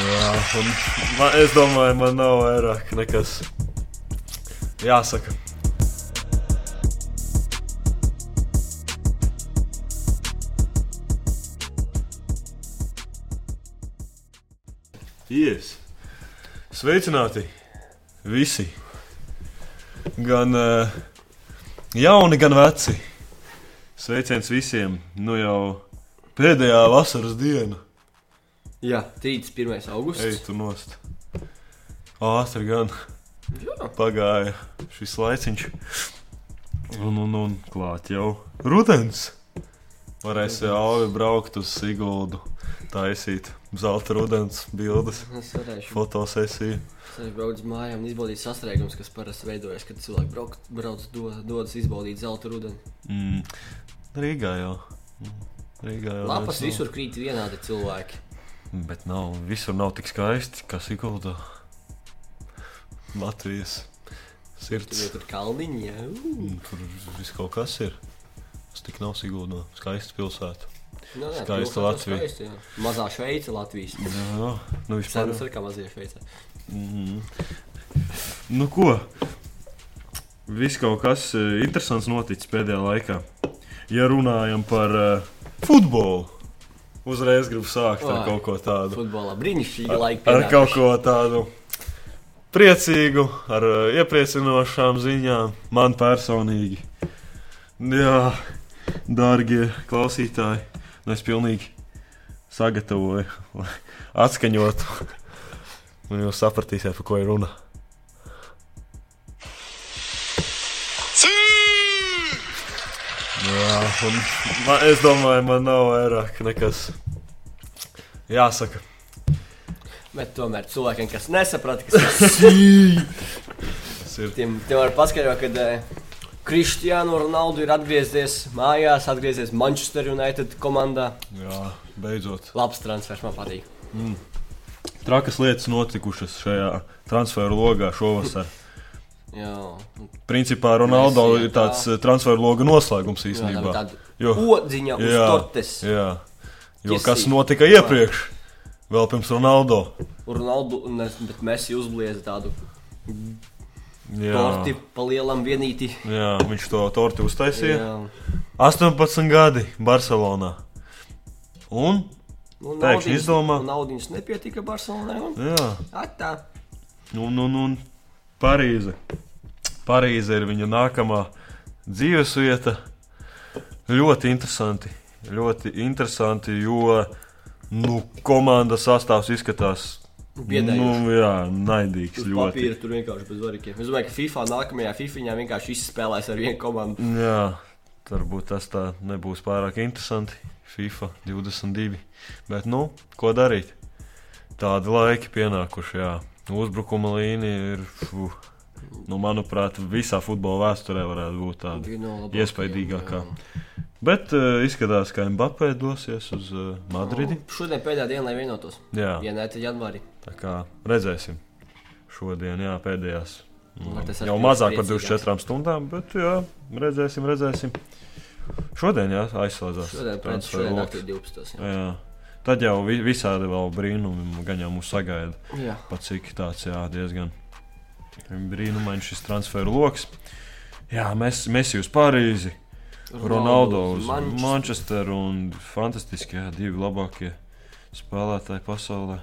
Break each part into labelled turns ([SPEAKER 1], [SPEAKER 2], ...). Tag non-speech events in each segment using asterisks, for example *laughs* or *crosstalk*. [SPEAKER 1] Jā, un man, es domāju, man nav vairāk nekas jāsaka. Yes. Sveicināti visi! Gan uh, jauni, gan veci. Sveiciens visiem! Nu jau pēdējā vasaras diena.
[SPEAKER 2] Jā, rīts 1. augusts.
[SPEAKER 1] Ej, tu nost. Ātri gan
[SPEAKER 2] Jā.
[SPEAKER 1] pagāja šis laiciņš. Un, un, un klāt jau rudens. Varēs jau braukt uz Sigūdu, taisīt zelta rudens bildes,
[SPEAKER 2] Es varēšu
[SPEAKER 1] fotosesiju.
[SPEAKER 2] braukt uz mājām un izbaudīt sastrēgumus, kas parasti veidojas, kad cilvēki brauc, brauc do, dodas izbaudīt zelta rudeni.
[SPEAKER 1] Mm. Rīgā jau. Mm, Rīgā jau.
[SPEAKER 2] Lapas
[SPEAKER 1] vairs nav.
[SPEAKER 2] visur krīt vienādi cilvēki.
[SPEAKER 1] Bet nav, visur nav tik skaisti, kā Sigūda. Latvijas
[SPEAKER 2] Tur
[SPEAKER 1] sirds.
[SPEAKER 2] jau tur kalniņi, jā.
[SPEAKER 1] Un Nu, Tur viss kaut kas ir. Tas tik nav Sigūda. nu, Skaista pilsēta.
[SPEAKER 2] No, Nu, jā,
[SPEAKER 1] Skaista
[SPEAKER 2] pilsēta
[SPEAKER 1] Latvija.
[SPEAKER 2] skaista, jā. Mazā Šveice Latvijas.
[SPEAKER 1] Jā, jā. nu vispār.
[SPEAKER 2] Sēnas ir kā mazie Šveice.
[SPEAKER 1] Mm. Nu ko? Viss kaut kas eh, interesants noticis pēdējā laikā. Ja runājam par uh, futbolu, uzreiz gribu sākt ar
[SPEAKER 2] Vai.
[SPEAKER 1] kaut ko tādu.
[SPEAKER 2] Futbolā brīnišķīgi laiki.
[SPEAKER 1] ar
[SPEAKER 2] pienākuši.
[SPEAKER 1] kaut ko tādu priecīgu, ar uh, iepriecinošām ziņām man personīgi. Jā, dārgie klausītāji, nu es pilnīgi sagatavoju, *laughs* lai atskaņotu. Un jūs sapratīsiet, par ko ir runa. Jā, un man, es domāju, man nav vairāk nekas jāsaka.
[SPEAKER 2] Bet tomēr cilvēkiem, kas nesaprata, kas tas ir,
[SPEAKER 1] Sirds.
[SPEAKER 2] tiem, tiem var paskaidrot, ka Kristiāna Ronaldu ir atgriezies mājās, atgriezies Manchester United komandā.
[SPEAKER 1] Jā, beidzot.
[SPEAKER 2] Labs transfers man patīk.
[SPEAKER 1] Trakas lietas notikušas šajā transferu logā šovasar.
[SPEAKER 2] Jā, nu,
[SPEAKER 1] Principā Ronaldo
[SPEAKER 2] Mēs, jā,
[SPEAKER 1] ir tāds eh, transferu loga noslēgums
[SPEAKER 2] jā tā bija
[SPEAKER 1] īstenībā.
[SPEAKER 2] tāda
[SPEAKER 1] Jo,
[SPEAKER 2] odziņa uz
[SPEAKER 1] Jā.
[SPEAKER 2] tortes.
[SPEAKER 1] jā, jo
[SPEAKER 2] Tiesība.
[SPEAKER 1] kas notika iepriekš? Vēl pirms Ronaldo.
[SPEAKER 2] Ronaldu, un es- bet Messi uzblieza tādu torti
[SPEAKER 1] Jā,
[SPEAKER 2] pa lielam vienīti.
[SPEAKER 1] jā viņš to torti uztaisīja.
[SPEAKER 2] Jā.
[SPEAKER 1] 18 gadi Barcelonā. Un?
[SPEAKER 2] Nu,
[SPEAKER 1] Pēkšņi
[SPEAKER 2] naudiņas-
[SPEAKER 1] izdomā.
[SPEAKER 2] nu, Naudiņas nepietika Barcelonai. un
[SPEAKER 1] Jā.
[SPEAKER 2] Atā.
[SPEAKER 1] Un, un, un Parīze. Parīze nu, ir viņa nākamā dzīves vieta. Ļoti interesanti. Ļoti interesanti, jo nu, komandas sastāvs izskatās.
[SPEAKER 2] Biedējoši.
[SPEAKER 1] Nu, jā, naidīgs
[SPEAKER 2] Uz
[SPEAKER 1] ļoti.
[SPEAKER 2] papīra tur vienkārši bez varikiem. Es domāju, ka FIFA nākamajā FIFA vienkārši izspēlēs ar vienu komandu.
[SPEAKER 1] Jā, varbūt tas tā nebūs pārāk interesanti. FIFA 22. Bet, nu, ko darīt? Tādi laiki pienākuši, jā. Uzbrukuma līnija ir, fu, nu, manuprāt, visā futbola vēsturē varētu būt tāda.
[SPEAKER 2] Bija no labākajiem,
[SPEAKER 1] iespaidīgākā.
[SPEAKER 2] jā.
[SPEAKER 1] Bet uh, izskatās, ka Mbappé dosies uz uh, Madridi.
[SPEAKER 2] Nu, Šodien pēdējā dienā, lai vienotos.
[SPEAKER 1] Jā,
[SPEAKER 2] Ja nē, tad janvārī.
[SPEAKER 1] tā kā redzēsim. Šodien, jā, pēdējās. nu,
[SPEAKER 2] Lai tas
[SPEAKER 1] Jau
[SPEAKER 2] atpūtas
[SPEAKER 1] mazāk par
[SPEAKER 2] priecīgāks.
[SPEAKER 1] 24 stundām, bet jā, redzēsim, redzēsim. Šodien, jā, aizslēdzās.
[SPEAKER 2] Šodien pēc
[SPEAKER 1] transferu
[SPEAKER 2] šodien
[SPEAKER 1] loks.
[SPEAKER 2] naktī 12. Jā.
[SPEAKER 1] Jā. Tad jau vi- visādi vēl brīnumi gan jau mūs sagaida.
[SPEAKER 2] jā.
[SPEAKER 1] Pat cik tāds jā, diezgan brīnumains šis transferu lokus. Jā, mēs, mēs jūs Parīzi. Ronaldo uz
[SPEAKER 2] Manchester-
[SPEAKER 1] Manchesteru un fantastiski, jā, divi labākie spēlētāji pasaulē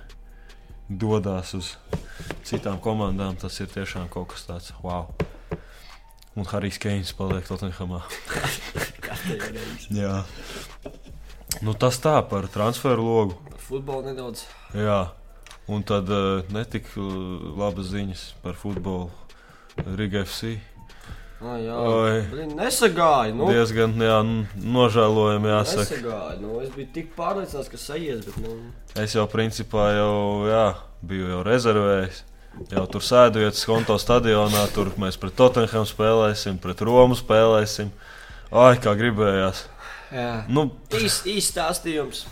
[SPEAKER 1] dodas uz citām komandām. Tas ir tiešām kaut kas tāds - wow! Un Harijs Keins paliek Tottenhamā.
[SPEAKER 2] Kārtējā reizē.
[SPEAKER 1] Jā. Nu, tas tā par transferu logu.
[SPEAKER 2] Par Futbolu nedaudz.
[SPEAKER 1] Jā. Un tad uh, netika uh, labas ziņas par futbolu. Riga FC.
[SPEAKER 2] Ah, jā,
[SPEAKER 1] Oi.
[SPEAKER 2] Blin, nesagāju. Nu,
[SPEAKER 1] Nu, diezgan jā, n- nožēlojami jāsaka.
[SPEAKER 2] nesagāju. Nu, es biju tik pārliecināts, ka sajies, bet nu,
[SPEAKER 1] Es jau principā jau, jā, biju jau rezervējis. Jau tur sēdu vietas konto stadionā, tur mēs pret Tottenham spēlēsim, pret Romu spēlēsim. Ai, kā gribējās.
[SPEAKER 2] jā.
[SPEAKER 1] Nu,
[SPEAKER 2] Īs, īs stāstījums.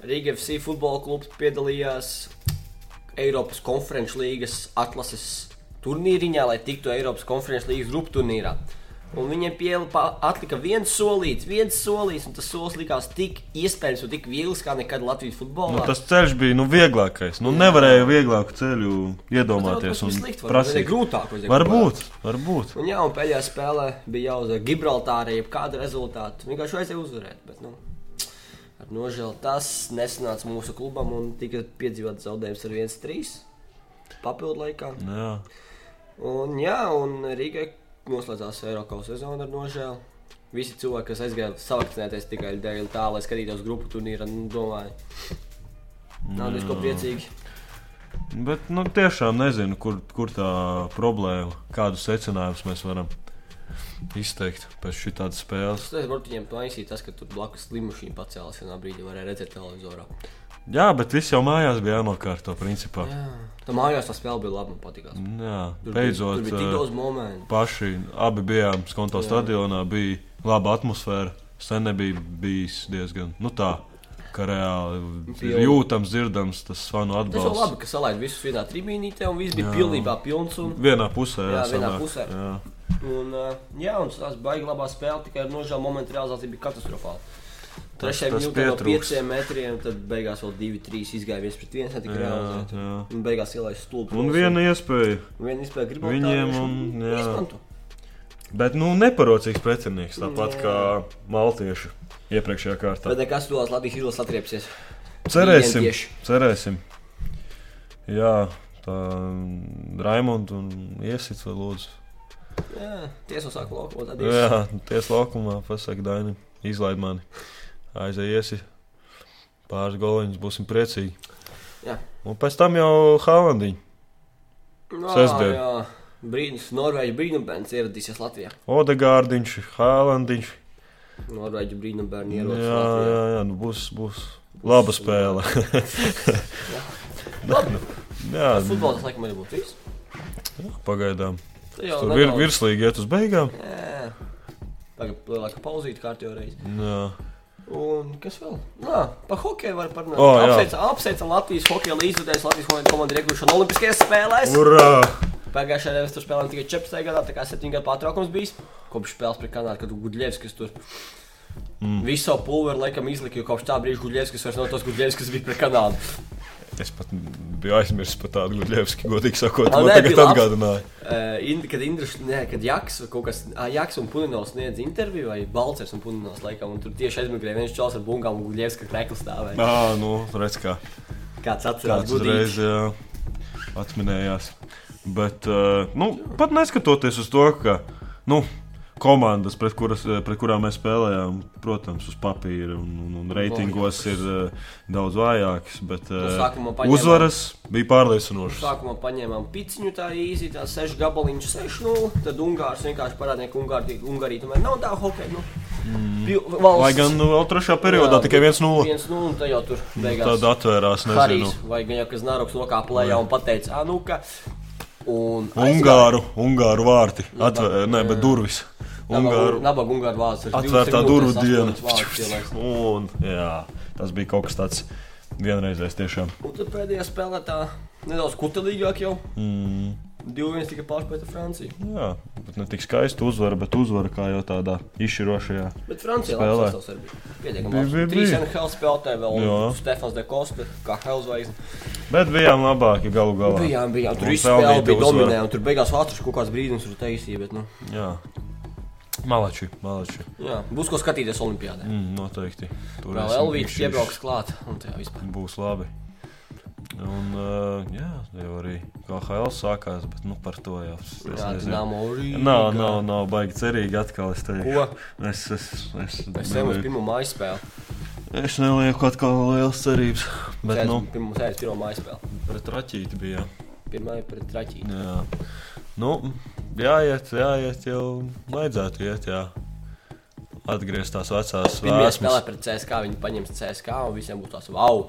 [SPEAKER 2] Riga FC futbola klubs piedalījās Eiropas konferenču līgas atlases turnīriņā, lai tiktu Eiropas konferenču līgas grupu turnīrā. Un viņiem pielika, atlika viens solīts, viens solīts, un tas solis likās tik iespējams un tik viegls kā nekad Latvijas futbolā.
[SPEAKER 1] Nu, tas ceļš bija nu, vieglākais. Nu, nevarēja vieglāku ceļu iedomāties. un
[SPEAKER 2] ir
[SPEAKER 1] prasīt.
[SPEAKER 2] grūtāk. vajag kaut
[SPEAKER 1] Varbūt, varbūt.
[SPEAKER 2] ko. Un jā, un pēdējā spēlē bija jāuzvar Gibraltārā, jeb kāda rezultāta. Nu, Vienkārši vajadzēja uzvarēt, bet nu, ar nožēlu tas nesanāca mūsu klubam un tika piedzīvots zaudējums ar 1-3 papildu laikā.
[SPEAKER 1] Jā.
[SPEAKER 2] Un, jā, un Rīgai noslēdzās Eiropas sezona ar nožēlu. Visi cilvēki, kas aizgāja savakcinēties tikai dēļ tā, lai skatītos grupu turnīru, nu, domāju, nav diezko priecīgi.
[SPEAKER 1] Bet nu, tiešām nezinu, kur, kur tā problēma, kādus secinājumus mēs varam izteikt pēc šādas spēles.
[SPEAKER 2] Es varu viņiem paisīt, tas, ka tur blakus slimušiem pacēlās vienā brīdī, varēja redzēt televizorā.
[SPEAKER 1] Jā, bet viss jau mājās bija jānokārto principā.
[SPEAKER 2] Jā, tā Nu, mājās tā spēle bija laba, man patīkās.
[SPEAKER 1] Jā,
[SPEAKER 2] Tur
[SPEAKER 1] beidzot. eh,
[SPEAKER 2] bija, tur bija tik daudz momentu.
[SPEAKER 1] paši abi bijām skonto
[SPEAKER 2] Jā.
[SPEAKER 1] stadionā, bija laba atmosfēra. Sen nebija bijis diezgan nu, tā, ka reāli ir
[SPEAKER 2] Pilna.
[SPEAKER 1] jūtams, dzirdams tas fanu
[SPEAKER 2] Nu, Tas jau
[SPEAKER 1] atbalsts.
[SPEAKER 2] labi, ka salaid visus vienā tribīnītē, un viss bija
[SPEAKER 1] Jā.
[SPEAKER 2] pilnībā pilns. Un,
[SPEAKER 1] Vienā pusē,
[SPEAKER 2] Jā, vienā
[SPEAKER 1] sanāk.
[SPEAKER 2] pusē.
[SPEAKER 1] Jā.
[SPEAKER 2] un, uh, jā, un tas baigi labā spēlē, tikai ar nožēlu momentu realizācija bija katastrofāla.
[SPEAKER 1] Tas-
[SPEAKER 2] Trešajā
[SPEAKER 1] tas
[SPEAKER 2] minūtē no
[SPEAKER 1] pietrūks.
[SPEAKER 2] 5 metriem, tad beigās vēl 2-3 izgāja viens pret viens, netika
[SPEAKER 1] Jā,
[SPEAKER 2] realizēta.
[SPEAKER 1] jā.
[SPEAKER 2] Un beigās ielaist stulbu.
[SPEAKER 1] Un viena iespēja.
[SPEAKER 2] Vienu iespēju gribam.
[SPEAKER 1] Viņiem un- jā.
[SPEAKER 2] Izmanto.
[SPEAKER 1] Bet, nu, neparocīgs pretinieks, tāpat
[SPEAKER 2] Jā.
[SPEAKER 1] kā maltieši iepriekšējā kārtā.
[SPEAKER 2] Tad nekas tuvās Latvijas hīlos atriepsies.
[SPEAKER 1] Cerēsim,
[SPEAKER 2] Viņiem tieši.
[SPEAKER 1] cerēsim. Jā, tā Raimonds un Iesits vēl lūdzu.
[SPEAKER 2] Jā, tiesa sāk lokot. tad ies.
[SPEAKER 1] Jā, tiesa laukumā pasakā Dainam, izlaid mani. Aiziesi, pāris goliņus, būsim priecīgi.
[SPEAKER 2] Jā.
[SPEAKER 1] Un pēc tam jau Haalandiņa.
[SPEAKER 2] Nā,
[SPEAKER 1] Sestdien.
[SPEAKER 2] Nu, Jā, brīnums. Norvēģi brīnumbērns ieradīsies Latvijā.
[SPEAKER 1] Odegārdiņš, Haalandiņš.
[SPEAKER 2] Norvēģi brīnumbērni
[SPEAKER 1] Jā,
[SPEAKER 2] ieradīsies
[SPEAKER 1] jā,
[SPEAKER 2] Latvijā.
[SPEAKER 1] jā, nu būs, būs laba spēle.
[SPEAKER 2] Labi,
[SPEAKER 1] *laughs* jā, nu,
[SPEAKER 2] futbolā tas laikam arī būtu viss.
[SPEAKER 1] pagaidām.
[SPEAKER 2] Tur jau
[SPEAKER 1] Tur vir,
[SPEAKER 2] nedaudz-
[SPEAKER 1] virslīgi iet uz beigām.
[SPEAKER 2] Jā. Tagad lielāka pauzīte kārtībā reizē.
[SPEAKER 1] Jā.
[SPEAKER 2] Un kas vēl? Jā, par hokeju var parunāt.
[SPEAKER 1] O,
[SPEAKER 2] Oh,
[SPEAKER 1] jā.
[SPEAKER 2] apsveicam, apsveicam Latvijas hokeja līdzdalībnieku, Latvijas hokeja komandu iegūšanu Olimpiskajās spēlēs.
[SPEAKER 1] Urā!
[SPEAKER 2] Pagājušajā gadā mēs tur spēlējām tikai 14 gadā, tā kā 7 gadu pārtraukums bijis. Kopš spēles pret Kanādu, kad Gudļevskis tur mm. visu savu pulveru laikam izlika, jo kopš tā brīža Gudļevskis vairs nav tas Gudļevskis, kas bija pret Kanādu.
[SPEAKER 1] Es pat biju aizmirsis par tādu Gudļevski, godīgi sakot,
[SPEAKER 2] Ah,
[SPEAKER 1] man
[SPEAKER 2] nē,
[SPEAKER 1] tagad
[SPEAKER 2] bija labs.
[SPEAKER 1] atgādināja.
[SPEAKER 2] Uh, ind, kad Indrišs, ne, kad Jaks, kaut kas, ah, Jaks un Puninovs sniedz interviju, vai Balcers un Puninovs laikam, un tur tieši aizmigrēja viens čels ar bungām un Gudļevskis kreklis stāvēja.
[SPEAKER 1] Jā, nu, redz kā.
[SPEAKER 2] Kāds atcerās
[SPEAKER 1] Kāds uzreiz
[SPEAKER 2] Gudļevskis?
[SPEAKER 1] jā, atminējās. Bet, eh, nu, pat neskatoties uz to, ka nu, komandas, pret, kuras, eh, pret kurām mēs spēlējām, protams, uz papīra un, un, un reitingos ir eh, daudz vājākas, bet eh,
[SPEAKER 2] Nu, sākumā paņēmām-
[SPEAKER 1] uzvaras bija pārliecinošas.
[SPEAKER 2] Sākumā paņēmām piciņu, tā īsi, tā 6 gabaliņš, 6 no. nu, Tad Ungārs vienkārši parādīja, ka Ungārija, Ungārija tomēr nav tā hokeja. Nu. Mm.
[SPEAKER 1] Lai gan nu, vēl trešajā periodā tikai 1-0
[SPEAKER 2] viens no, un tā jau tur beigās.
[SPEAKER 1] tāda atvērās, nezinu.
[SPEAKER 2] Harijs vai gan jau kas Nāroks nokāplējā un pateica, ah, nu ka. Un
[SPEAKER 1] Ungāru, Ungāru vārti, atvērta, ne, bet durvis. Ungāru
[SPEAKER 2] Nabaga Ungāra vārds ir
[SPEAKER 1] atvērtā
[SPEAKER 2] 20
[SPEAKER 1] durvju
[SPEAKER 2] minūtēs
[SPEAKER 1] diena.
[SPEAKER 2] astoņas vārds ielaist.
[SPEAKER 1] Un, jā, tas bija kaut kas tāds vienreizējs tiešām.
[SPEAKER 2] Un tad pēdējā spēlē tā nedaudz kutelīgāk jau.
[SPEAKER 1] Mm,
[SPEAKER 2] 2-1 tika pārspēta Francija.
[SPEAKER 1] jā, bet ne tik skaista uzvara, bet uzvara kā jau tādā izšķirošajā.
[SPEAKER 2] Bet Francijā
[SPEAKER 1] Spēlē.
[SPEAKER 2] labs sastāvs arī bija. Pietiekami
[SPEAKER 1] Bija,
[SPEAKER 2] labs.
[SPEAKER 1] bija,
[SPEAKER 2] Trīs
[SPEAKER 1] bija.
[SPEAKER 2] NHL spēlētāji vēl.
[SPEAKER 1] Jā.
[SPEAKER 2] Stefans de Costa, kā Helzvaigs.
[SPEAKER 1] Bet bijām labāki galu galā.
[SPEAKER 2] Bijām, bijām. Tur
[SPEAKER 1] Un
[SPEAKER 2] viss spēle
[SPEAKER 1] pelnīta
[SPEAKER 2] bija
[SPEAKER 1] uzvara.
[SPEAKER 2] dominēta. Tur beigās Vācis kaut kāds brīdis tur taisīja. Bet, nu,
[SPEAKER 1] Jā. Malači, malači.
[SPEAKER 2] jā, būs ko skatīties Olimpijādē.
[SPEAKER 1] Mm, noteikti. Tur
[SPEAKER 2] Vēl
[SPEAKER 1] esam
[SPEAKER 2] Elvīds
[SPEAKER 1] bijuši.
[SPEAKER 2] iebrauks klāt. Un tā vispār.
[SPEAKER 1] Būs labi. Un, uh, jā, jau arī KHL sākās, bet nu par to jau. es- es
[SPEAKER 2] Jā,
[SPEAKER 1] nezinu.
[SPEAKER 2] Dīnāmo Rīga.
[SPEAKER 1] Nav, nav, nav baigi cerīgi atkal. Es teiktu,
[SPEAKER 2] Ko?
[SPEAKER 1] es, es, es,
[SPEAKER 2] Es sev uz
[SPEAKER 1] nu.
[SPEAKER 2] pirmo mājas spēli.
[SPEAKER 1] es nelieku atkal lielas cerības. Bet, nu,
[SPEAKER 2] Pirmā sēdes, pirmā mājas spēle.
[SPEAKER 1] pret raķīti bija.
[SPEAKER 2] Pirmā ir pret Raķīnu.
[SPEAKER 1] Jā, nu, jāiet, jāiet, jau vajadzētu iet, jā. Atgriezt tās vecās
[SPEAKER 2] Pirmā
[SPEAKER 1] vēsmas.
[SPEAKER 2] spēlē pret CSK. Viņi paņems CSK un visiem būs tās wow.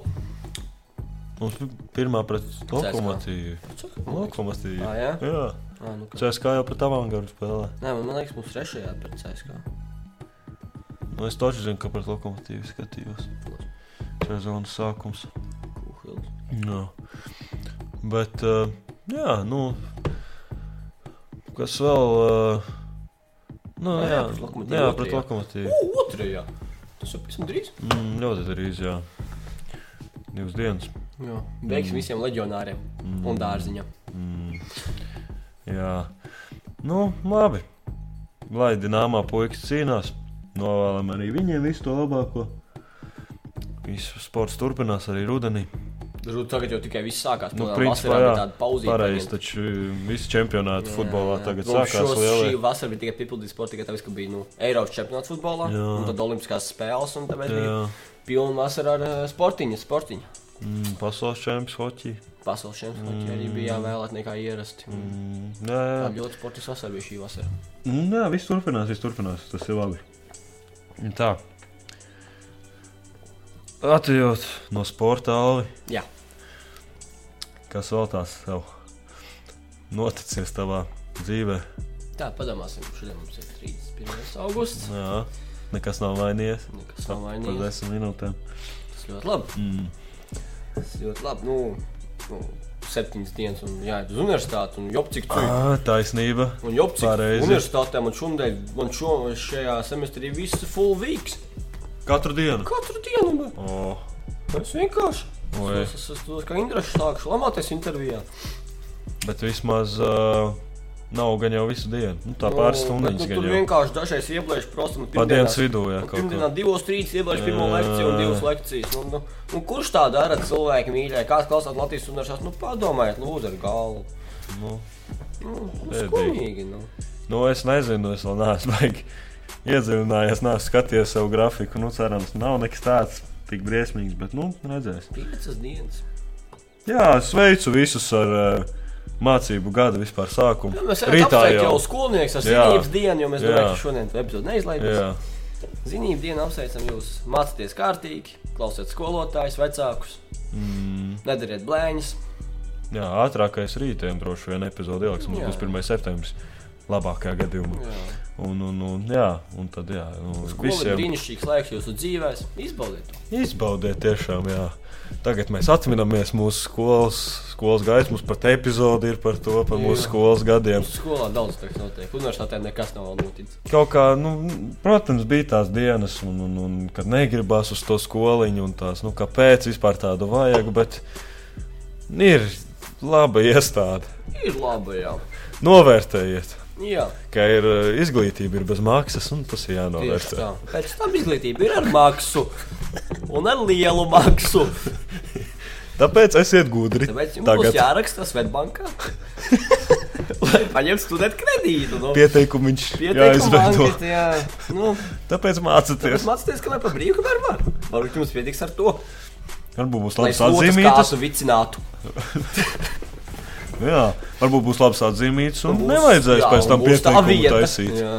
[SPEAKER 1] Mums bija pirmā pret lokomotīvu.
[SPEAKER 2] Ah,
[SPEAKER 1] Lokomotīva.
[SPEAKER 2] jā?
[SPEAKER 1] Jā,
[SPEAKER 2] Ah, nu, kā.
[SPEAKER 1] CSK jau pret avangardu spēlē.
[SPEAKER 2] Nē, man liekas, mums trešajā pret CSK.
[SPEAKER 1] Nu, es taču zinu, ka pret lokomotīvu skatījos. Sezonas sākums.
[SPEAKER 2] Kuhils.
[SPEAKER 1] Jā. Bet, eh, jā, nu, kas vēl eh, Nu,
[SPEAKER 2] Vai
[SPEAKER 1] jā,
[SPEAKER 2] jā, pret Lokomotīvu
[SPEAKER 1] jā,
[SPEAKER 2] otrajā?
[SPEAKER 1] pret lokomotīvu.
[SPEAKER 2] U, Otrajā. Tas jau pavisam drīz.
[SPEAKER 1] Mm, ļoti drīz, jā. Divas dienas.
[SPEAKER 2] Jā. Veiksim visiem leģionāriem un dārziņam.
[SPEAKER 1] Mm, jā, nu, labi. Lai dināmā puikas cīnās, novēlam arī viņiem visu to labāko. Viss sports turpinās arī rudenī.
[SPEAKER 2] Tur tagad jau tikai viss sākās.
[SPEAKER 1] Nu,
[SPEAKER 2] Nu,
[SPEAKER 1] principā,
[SPEAKER 2] vasarā
[SPEAKER 1] jā,
[SPEAKER 2] bija tāda pauzīte.
[SPEAKER 1] Pareizi,
[SPEAKER 2] paņemta.
[SPEAKER 1] taču viss čempionāts
[SPEAKER 2] Jā,
[SPEAKER 1] futbolā
[SPEAKER 2] jā.
[SPEAKER 1] tagad
[SPEAKER 2] Nu,
[SPEAKER 1] sākās
[SPEAKER 2] šos-
[SPEAKER 1] lielai.
[SPEAKER 2] Šī vasara bija tikai piepildīta sporta, tikai tāpēc, ka bija nu, Eiropas čempionāts futbolā,
[SPEAKER 1] Jā.
[SPEAKER 2] un tad Olimpiskās spēles, un tāpēc bija
[SPEAKER 1] Jā,
[SPEAKER 2] pilna vasara ar eh, ā, sportiņu, sportiņu.
[SPEAKER 1] mm, pasaules čempions hoci.
[SPEAKER 2] Pasaules čempionāts mm. arī bija jāvēlēt nekā ierasti. Mm.
[SPEAKER 1] Mm, jā, jā.
[SPEAKER 2] Tā ļoti sportisks vasara bija šī vasara.
[SPEAKER 1] Nu, jā, viss turpinās, viss turpinās. Tas ir labi. Tā. Atejot no sporta alvi,
[SPEAKER 2] Jā.
[SPEAKER 1] kas vēl tās tev noticis tavā dzīvē?
[SPEAKER 2] Tā, padomāsim, šodien mums ir 31. augusts.
[SPEAKER 1] Jā, nekas nav mainījies.
[SPEAKER 2] Nekas nav
[SPEAKER 1] Par
[SPEAKER 2] mainījies.
[SPEAKER 1] desmit minūtēm.
[SPEAKER 2] Tas ļoti labi.
[SPEAKER 1] Mm.
[SPEAKER 2] Tas ļoti labi. Nu, nu, septiņas dienas un jāiet uz universitāti un jopcik tu.
[SPEAKER 1] Ah, taisnība.
[SPEAKER 2] Un jau tādā
[SPEAKER 1] Pareizi.
[SPEAKER 2] universitātē man šodien, man šo, šajā semestrī viss ir full weeks. nu,
[SPEAKER 1] Katru dienu.
[SPEAKER 2] Katru dienu man
[SPEAKER 1] O,
[SPEAKER 2] tas vienkārši.
[SPEAKER 1] Oi.
[SPEAKER 2] Es saprotu, ka Indrašs sākšu lamāties intervijā.
[SPEAKER 1] bet vismaz uh, nav gan jau visu dienu. Nu, tā pāris
[SPEAKER 2] Nu,
[SPEAKER 1] stundas
[SPEAKER 2] bet, nu,
[SPEAKER 1] gan
[SPEAKER 2] tur
[SPEAKER 1] jau.
[SPEAKER 2] vienkārši dažreiz ieplēš prostu.
[SPEAKER 1] Pa dienas vidū, jā, kaut kā.
[SPEAKER 2] Pirmdienā divos, trīs ieplēš pirmo
[SPEAKER 1] Jā.
[SPEAKER 2] lekciju un divas lekcijas. Nu, nu, nu, kurš tā dara cilvēki mīļai? Kāds klausās Latvijas universitātes? Nu, padomājiet, lūdzu, ar galvu.
[SPEAKER 1] Nu,
[SPEAKER 2] Nu, nu,
[SPEAKER 1] Bēdīgi.
[SPEAKER 2] skumīgi. Nu.
[SPEAKER 1] Nu, es nezinu, es vēl neesmu *laughs* baigi iedziļinājies, neesmu skatījies savu grafiku. Nu, cerams, nav nekas tāds tik briesmīgs, bet, nu, redzēsim.
[SPEAKER 2] Piecas dienas.
[SPEAKER 1] Jā, sveicu visus ar uh, mācību gada vispār sākumu.
[SPEAKER 2] Jā, mēs esam apsveikti Nu, jau skolnieks ar
[SPEAKER 1] Jā.
[SPEAKER 2] zinības dienu, jo mēs
[SPEAKER 1] Jā.
[SPEAKER 2] domājam, ka šodien to epizodu neizlaidīsim.
[SPEAKER 1] Jā,
[SPEAKER 2] Zinību dienu apsveicam jūs, mācieties kārtīgi, klausieties skolotājus, vecākus,
[SPEAKER 1] mm,
[SPEAKER 2] nedariet blēņas.
[SPEAKER 1] jā, ātrākais rītdien droši vien epizode ieliks. Mums
[SPEAKER 2] Jā.
[SPEAKER 1] būs 1. septembris. Labākajā gadījumā.
[SPEAKER 2] Jā.
[SPEAKER 1] Un, un, un, jā, un tad, jā, nu,
[SPEAKER 2] Skola ir
[SPEAKER 1] visiem
[SPEAKER 2] brīnišķīgs laiks jūsu dzīvēs, izbaudiet to.
[SPEAKER 1] izbaudiet, tiešām, jā. Tagad mēs atceramies mūsu skolas, skolas gaisu. Mums pat epizode ir par to, par
[SPEAKER 2] Jā.
[SPEAKER 1] mūsu skolas gadiem.
[SPEAKER 2] Skolā daudz kas notiek, universitātē nekas nav vēl noticis.
[SPEAKER 1] Kaut kā, nu, protams, bija tās dienas, un, un, un kad negribās uz to skoliņu, un tās, nu, kāpēc vispār tādu vajag, bet ir laba iestāde.
[SPEAKER 2] Ir labi, jā.
[SPEAKER 1] Novērtējiet,
[SPEAKER 2] Jā,
[SPEAKER 1] ka ir, uh, izglītība ir bez maksas, un tas ir
[SPEAKER 2] tieši
[SPEAKER 1] jānovērtē.
[SPEAKER 2] tā. Pēc tam izglītība ir ar maksu. Un ar lielu maksu.
[SPEAKER 1] Tāpēc esiet gudri.
[SPEAKER 2] Tāpēc jums Tagad.
[SPEAKER 1] Tagad
[SPEAKER 2] būs jāraksta
[SPEAKER 1] *laughs*
[SPEAKER 2] Svetbankā. Lai paņemtu studiju kredītu. No.
[SPEAKER 1] pieteikumu viņš jāizveido.
[SPEAKER 2] Pieteikums, jā. Nu,
[SPEAKER 1] Tāpēc
[SPEAKER 2] es
[SPEAKER 1] mācieties.
[SPEAKER 2] mācījos, ka lai pa brīvu kamēr var. Varbūt jums pietiks ar to.
[SPEAKER 1] Varbūt būs
[SPEAKER 2] Lai
[SPEAKER 1] labs
[SPEAKER 2] slūdzas
[SPEAKER 1] atzīmītas.
[SPEAKER 2] kāzu vicinātu.
[SPEAKER 1] Jā, varbūt būs labs atzīmītas, un
[SPEAKER 2] Būs-
[SPEAKER 1] Nu, nevajadzēs
[SPEAKER 2] jā,
[SPEAKER 1] pēc
[SPEAKER 2] un
[SPEAKER 1] tam
[SPEAKER 2] būs tā
[SPEAKER 1] pieteikumu
[SPEAKER 2] vieta.
[SPEAKER 1] taisīt.
[SPEAKER 2] Jā.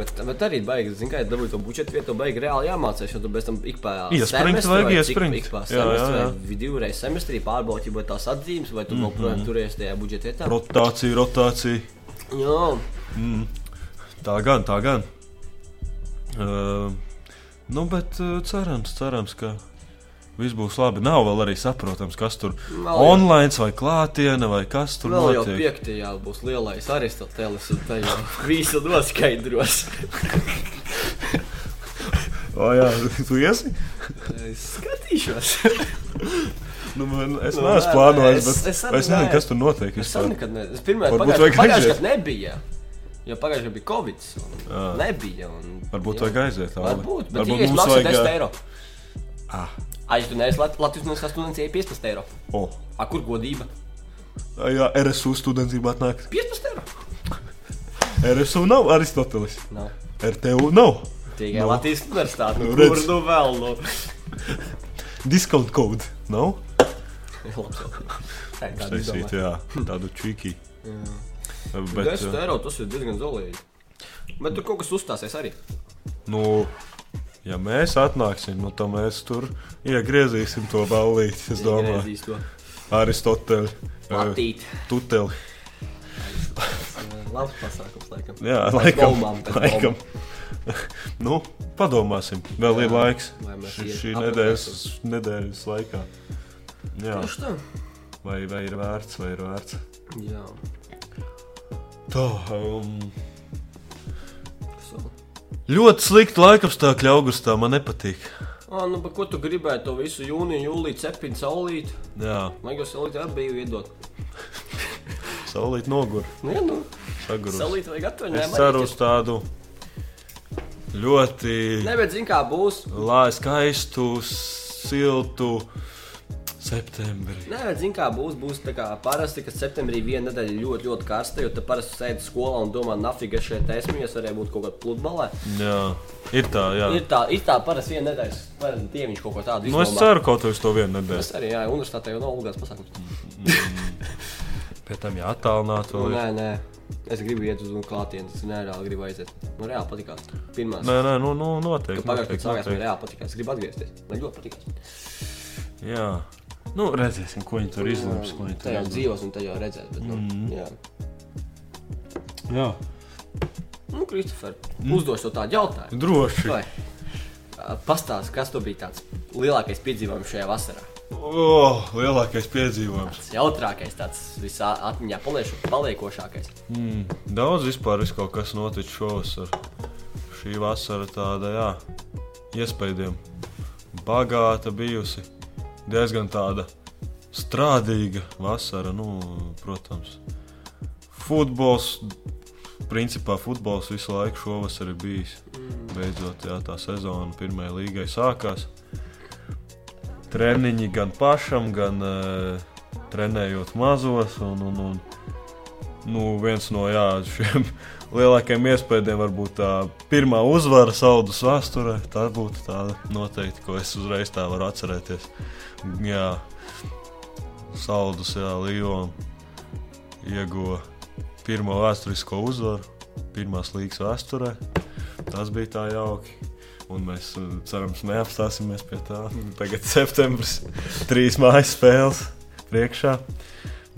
[SPEAKER 2] Bet, bet arī baigi, zin, kā, ja dabūji to bučetu vietu, baigi reāli jāmācās, jo tu bez tam ik pēc
[SPEAKER 1] Iespringt vajag, iespringt.
[SPEAKER 2] Ik pēc
[SPEAKER 1] Jā, jā,
[SPEAKER 2] semestra
[SPEAKER 1] jā. Mhm.
[SPEAKER 2] vai divreiz semestrī pārbaudīt, vai tās atzīmes, vai tu mm -hmm. joprojām turējies tajā budžeta vietā.
[SPEAKER 1] Rotācija, rotācija.
[SPEAKER 2] Jā,
[SPEAKER 1] Tā gan, tā gan. Uh, nu, bet uh, cerams, cerams, ka viss būs labi. Nav vēl arī saprotams, kas tur
[SPEAKER 2] Nav jau.
[SPEAKER 1] online vai klātienē, vai kas tur
[SPEAKER 2] vēl jau
[SPEAKER 1] notiek.
[SPEAKER 2] piektajā būs lielais aristotelis, un tā jau visu noskaidros.
[SPEAKER 1] O, jā, *laughs* tu iesi?
[SPEAKER 2] es skatīšos.
[SPEAKER 1] Nu, man, es
[SPEAKER 2] Nu,
[SPEAKER 1] nu, neesmu
[SPEAKER 2] nē,
[SPEAKER 1] plānojis,
[SPEAKER 2] es-
[SPEAKER 1] bet
[SPEAKER 2] es
[SPEAKER 1] es,
[SPEAKER 2] arī
[SPEAKER 1] es nezinu,
[SPEAKER 2] neesmu.
[SPEAKER 1] kas tur notiek.
[SPEAKER 2] es tam
[SPEAKER 1] vispār.
[SPEAKER 2] nekad neesmu. Es pirmā
[SPEAKER 1] Varbūt
[SPEAKER 2] pagājušajā
[SPEAKER 1] vajag
[SPEAKER 2] pagājušajā
[SPEAKER 1] aiziet.
[SPEAKER 2] gadā nebija. Jo pagājušajā gadā bija Covid. un
[SPEAKER 1] Jā.
[SPEAKER 2] Nebija. Un,
[SPEAKER 1] Varbūt
[SPEAKER 2] jā.
[SPEAKER 1] vajag aiziet tālāk.
[SPEAKER 2] Varbūt, bet varbūt mums vajag 10 eiro. Ai, tu neesi Lat- Latvijas universitātes students, ja ir 15 eiro.
[SPEAKER 1] O,
[SPEAKER 2] A, kur godība?
[SPEAKER 1] jā, RSU studentiem atnāk.
[SPEAKER 2] 15 eiro.
[SPEAKER 1] RSU nav Aristotelis.
[SPEAKER 2] Nav.
[SPEAKER 1] RTU nav.
[SPEAKER 2] Tikai
[SPEAKER 1] Nu.
[SPEAKER 2] Latvijas universitāte.
[SPEAKER 1] Nu,
[SPEAKER 2] Nu, kur
[SPEAKER 1] redz.
[SPEAKER 2] nu vēl? Nu? *laughs*
[SPEAKER 1] Discount code nav.
[SPEAKER 2] Labs jautājums. Tā ir tāda
[SPEAKER 1] Taisīt,
[SPEAKER 2] izdomāta.
[SPEAKER 1] jā, tādu čīki. Bet, eh,
[SPEAKER 2] 10 eiro tas ir diezgan zolīgi. Bet tur kaut kas uzstāsies arī.
[SPEAKER 1] Nu, ja mēs atnāksim, nu, tad mēs tur iegriezīsim to ballīti. Es domāju,
[SPEAKER 2] Iegriezīs to
[SPEAKER 1] Aristoteļa eh,
[SPEAKER 2] Matīt.
[SPEAKER 1] tuteli.
[SPEAKER 2] Labs pasākums, laikam.
[SPEAKER 1] Jā, laikam.
[SPEAKER 2] bombām, pēc
[SPEAKER 1] laikam. *laughs* nu, padomāsim, vēl ir
[SPEAKER 2] Jā,
[SPEAKER 1] laiks.
[SPEAKER 2] vai mēs
[SPEAKER 1] Šī,
[SPEAKER 2] ie-
[SPEAKER 1] šī nedēļas,
[SPEAKER 2] aprunāsim.
[SPEAKER 1] nedēļas laikā. Jā,
[SPEAKER 2] Tieši tā.
[SPEAKER 1] vai, vai ir vērts, vai ir vērts.
[SPEAKER 2] Jā.
[SPEAKER 1] Tā, um, Ļoti slikti laikapstākļi augustā man nepatīk.
[SPEAKER 2] Ah, nu, bet ko tu gribēji to visu jūniju, jūliju, cepinu, saulīti?
[SPEAKER 1] Jā,
[SPEAKER 2] Man jau saulīti arī bija iedot.
[SPEAKER 1] saulīt nogur.
[SPEAKER 2] Nu, jā, nu,
[SPEAKER 1] Sagurus.
[SPEAKER 2] saulīti vajag
[SPEAKER 1] Es
[SPEAKER 2] atvaļinājumu.
[SPEAKER 1] ceru
[SPEAKER 2] arī
[SPEAKER 1] uz tādu ļoti
[SPEAKER 2] Nē, bet zini, kā būs.
[SPEAKER 1] lā- skaistu, siltu septembri.
[SPEAKER 2] Nē, bet zini, kā būs. Būs tā kā parasti, ka septembrī viena nedēļa ir ļoti, ļoti karsta, jo tu parasti sēdi skolā un domā, nafiga šeit esmu, es varēju būt kaut kādā pludmalē.
[SPEAKER 1] Jā, ir tā,
[SPEAKER 2] Ir
[SPEAKER 1] jā.
[SPEAKER 2] tā, ir tā parasti viena nedēļa, parasti dieviņš kaut ko tādu
[SPEAKER 1] Nu, es ceru kaut uz to vienu nedēļu.
[SPEAKER 2] Es arī, jā, universitātē jau nav obligāts pasākums.
[SPEAKER 1] Pie tam jāattālināt
[SPEAKER 2] Nu,
[SPEAKER 1] vēl. ir.
[SPEAKER 2] nē, nē. Es gribu iet uz klātienes, es nereāli gribu aiziet. Man reāli patīk. Pirmā.
[SPEAKER 1] Nē, nē, nu, nu noteikti.
[SPEAKER 2] Pagājušajā gadā sākās, man
[SPEAKER 1] noteikti.
[SPEAKER 2] reāli patīk. Es gribu atgriezties. Man ļoti patīk.
[SPEAKER 1] Jā. Nu, redzēsim, ko viņi tur izlems. ko viņi tur
[SPEAKER 2] Tā jau
[SPEAKER 1] izlems.
[SPEAKER 2] dzīvos un tā jau redzēs. Bet, nu,
[SPEAKER 1] Mhm.
[SPEAKER 2] mm. jā.
[SPEAKER 1] Jā,
[SPEAKER 2] Nu, Kristofer, mm. uzdošu tev tādu jautājumu.
[SPEAKER 1] droši.
[SPEAKER 2] Vai, ā, Pastāsti, kas tev bija tāds lielākais piedzīvojums šajā vasarā?
[SPEAKER 1] O, Oh, lielākais piedzīvojums.
[SPEAKER 2] Tas jautrākais, tāds visā atmiņā paliešu, paliekošākais.
[SPEAKER 1] Mm, daudz vispār ir kaut kas noticis šovasar. Šī vasara tāda, jā, iespējama. Bagāta bijusi. Diezgan tāda strādīga vasara, nu, protams. Futbols, principā futbols visu laiku šovasar ir bijis.
[SPEAKER 2] Mm.
[SPEAKER 1] Beidzot, jā, tā sezona pirmajai līgai sākās. Treniņi gan pašam, gan uh, trenējot mazos. Un, un, un, nu, viens no jā, šiem *laughs* lielākajiem iespējām var būt tā pirmā uzvara Saudus vēsturē. Tā būtu tāda noteikti, ko es uzreiz tā varu atcerēties. Jā, Saudus Lyon ieguva pirmo vēsturisko uzvaru, pirmās līgas vēsturē. Tas bija tā jauki. Un mēs eh, cerams, neapstāsimies pie tā. Tagad septembris trīs mājas spēles priekšā.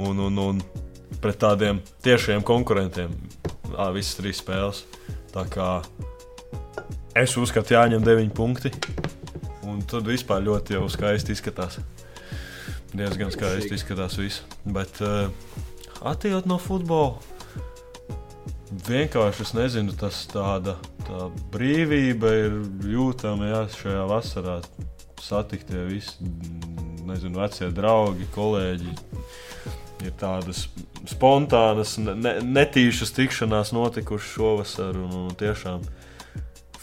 [SPEAKER 1] Un, un, un pret tādiem tiešiem konkurentiem. Ā, visas trīs spēles. Tā kā es uzskatu, jāņem 9 punkti. Un tad vispār ļoti jau skaisti izskatās. Diezgan skaisti izskatās viss. Bet uh, attīstot no futbola. Vienkārši es nezinu, tas tāda tā brīvība ir jūtama jā, šajā vasarā. Satiktie visi, mm, nezinu, vecie draugi, kolēģi, ir tādas spontānas, ne- ne, netīšas tikšanās notikušas šovasar. Un, un tiešām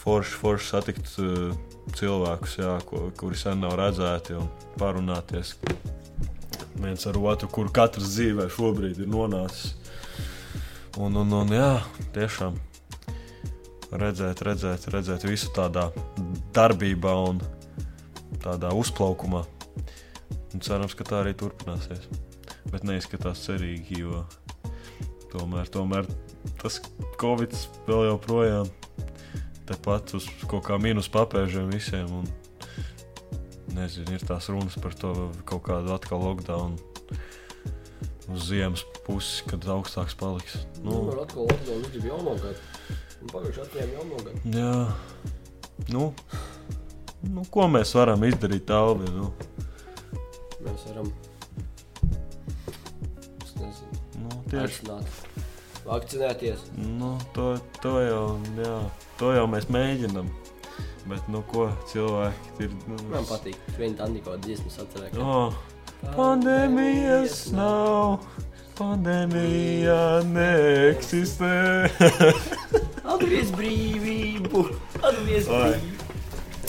[SPEAKER 1] forši, forši satikt eh, cilvēkus, jā, ko, kuri sen nav redzēti un parunāties viens ar otru, kur katrs dzīvē šobrīd ir nonācis. Un, un, un jā, tiešām redzēt, redzēt, redzēt visu tādā darbībā un tādā uzplaukumā. Un cerams, ka tā arī turpināsies bet neizskatās cerīgi, jo tomēr, tomēr tas Covid vēl joprojām tepat uz kaut kā mīnus papēžiem visiem. Un, nezinu, ir tās runas par to kaut kādu atkal lockdown uz ziemas pusi, kad augstāks paliks.
[SPEAKER 2] Nu,
[SPEAKER 1] Nu,
[SPEAKER 2] man atkal atkal uzgrib jauno gadu. Un Pagājušajā atmiņā jauno gadu.
[SPEAKER 1] jā, nu, nu, ko mēs varam izdarīt tālu? Nu,
[SPEAKER 2] Mēs varam. Es nezinu.
[SPEAKER 1] nu, tieši
[SPEAKER 2] Tieši. Vakcinēties.
[SPEAKER 1] Nu, to, to, jau, jā, to jau mēs mēģinām. Bet, nu, ko cilvēki ir. Nu,
[SPEAKER 2] Man patīk. Viņa tā Niko dziesmas atcerēja.
[SPEAKER 1] Oh, pandēmijas nav. Pandēmija neeksistē.
[SPEAKER 2] Atgriez brīvību! Atgriez
[SPEAKER 1] Oi.
[SPEAKER 2] brīvību!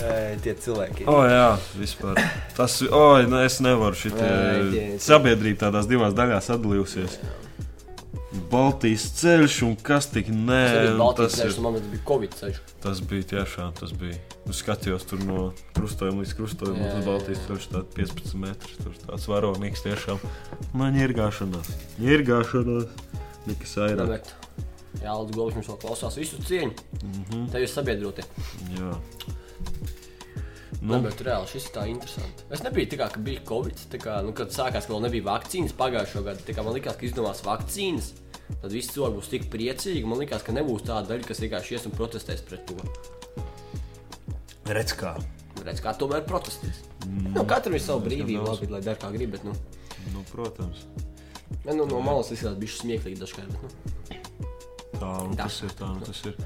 [SPEAKER 2] Ei, Tie cilvēki.
[SPEAKER 1] O, oh, jā, vispār. Tas, o, oh, es nevaru.
[SPEAKER 2] Ai, tie-
[SPEAKER 1] Šitie, sabiedrība tādās divās daļās sadalījusies. Baltijas ceļš un kas tik nē.
[SPEAKER 2] Tas bija
[SPEAKER 1] un
[SPEAKER 2] Baltijas
[SPEAKER 1] tas ir-
[SPEAKER 2] ceļš, un man tas bija Covid ceļš.
[SPEAKER 1] Tas bija tiešām tas bija. Nu, skatījos tur no krustojuma līdz krustojumam,
[SPEAKER 2] Jā,
[SPEAKER 1] un
[SPEAKER 2] jā,
[SPEAKER 1] tas Baltijas ceļš tāds 15 metrus. Tur tāds varonīgs tiešām. Man ir gāšanās, ir gāšanās. Nekas vairāk.
[SPEAKER 2] Bet Jā, Aldis Govs mums vēl klausās visu cieņu. Tev ir sabiedrotie.
[SPEAKER 1] Mhm, Jā.
[SPEAKER 2] Nu.
[SPEAKER 1] Nu,
[SPEAKER 2] Bet reāli šis ir tā interesanti. Es nebiju tā, kā, ka bija Covid, tā kā, nu, kad sākās, ka vēl nebija vakcīnas pagājušā gada. Tā kā man likās, ka izdomās vakcīnas, tad visi cilvēki būs tik priecīgi. Man likās, ka nebūs tāda daļa, kas vienkārši ies un protestēs pret to.
[SPEAKER 1] redz kā.
[SPEAKER 2] Redz, kā tomēr protestēs. Mm. Nu, katram ir sava brīvība,
[SPEAKER 1] daudz.
[SPEAKER 2] labi, lai dara kā grib, bet nu,
[SPEAKER 1] Nu, protams.
[SPEAKER 2] ne, nu, no malas izskatās bišķi smieklīgi dažkārt. Bet, nu.
[SPEAKER 1] Tā, nu,
[SPEAKER 2] Tā.
[SPEAKER 1] tas ir tā, nu, tas ir.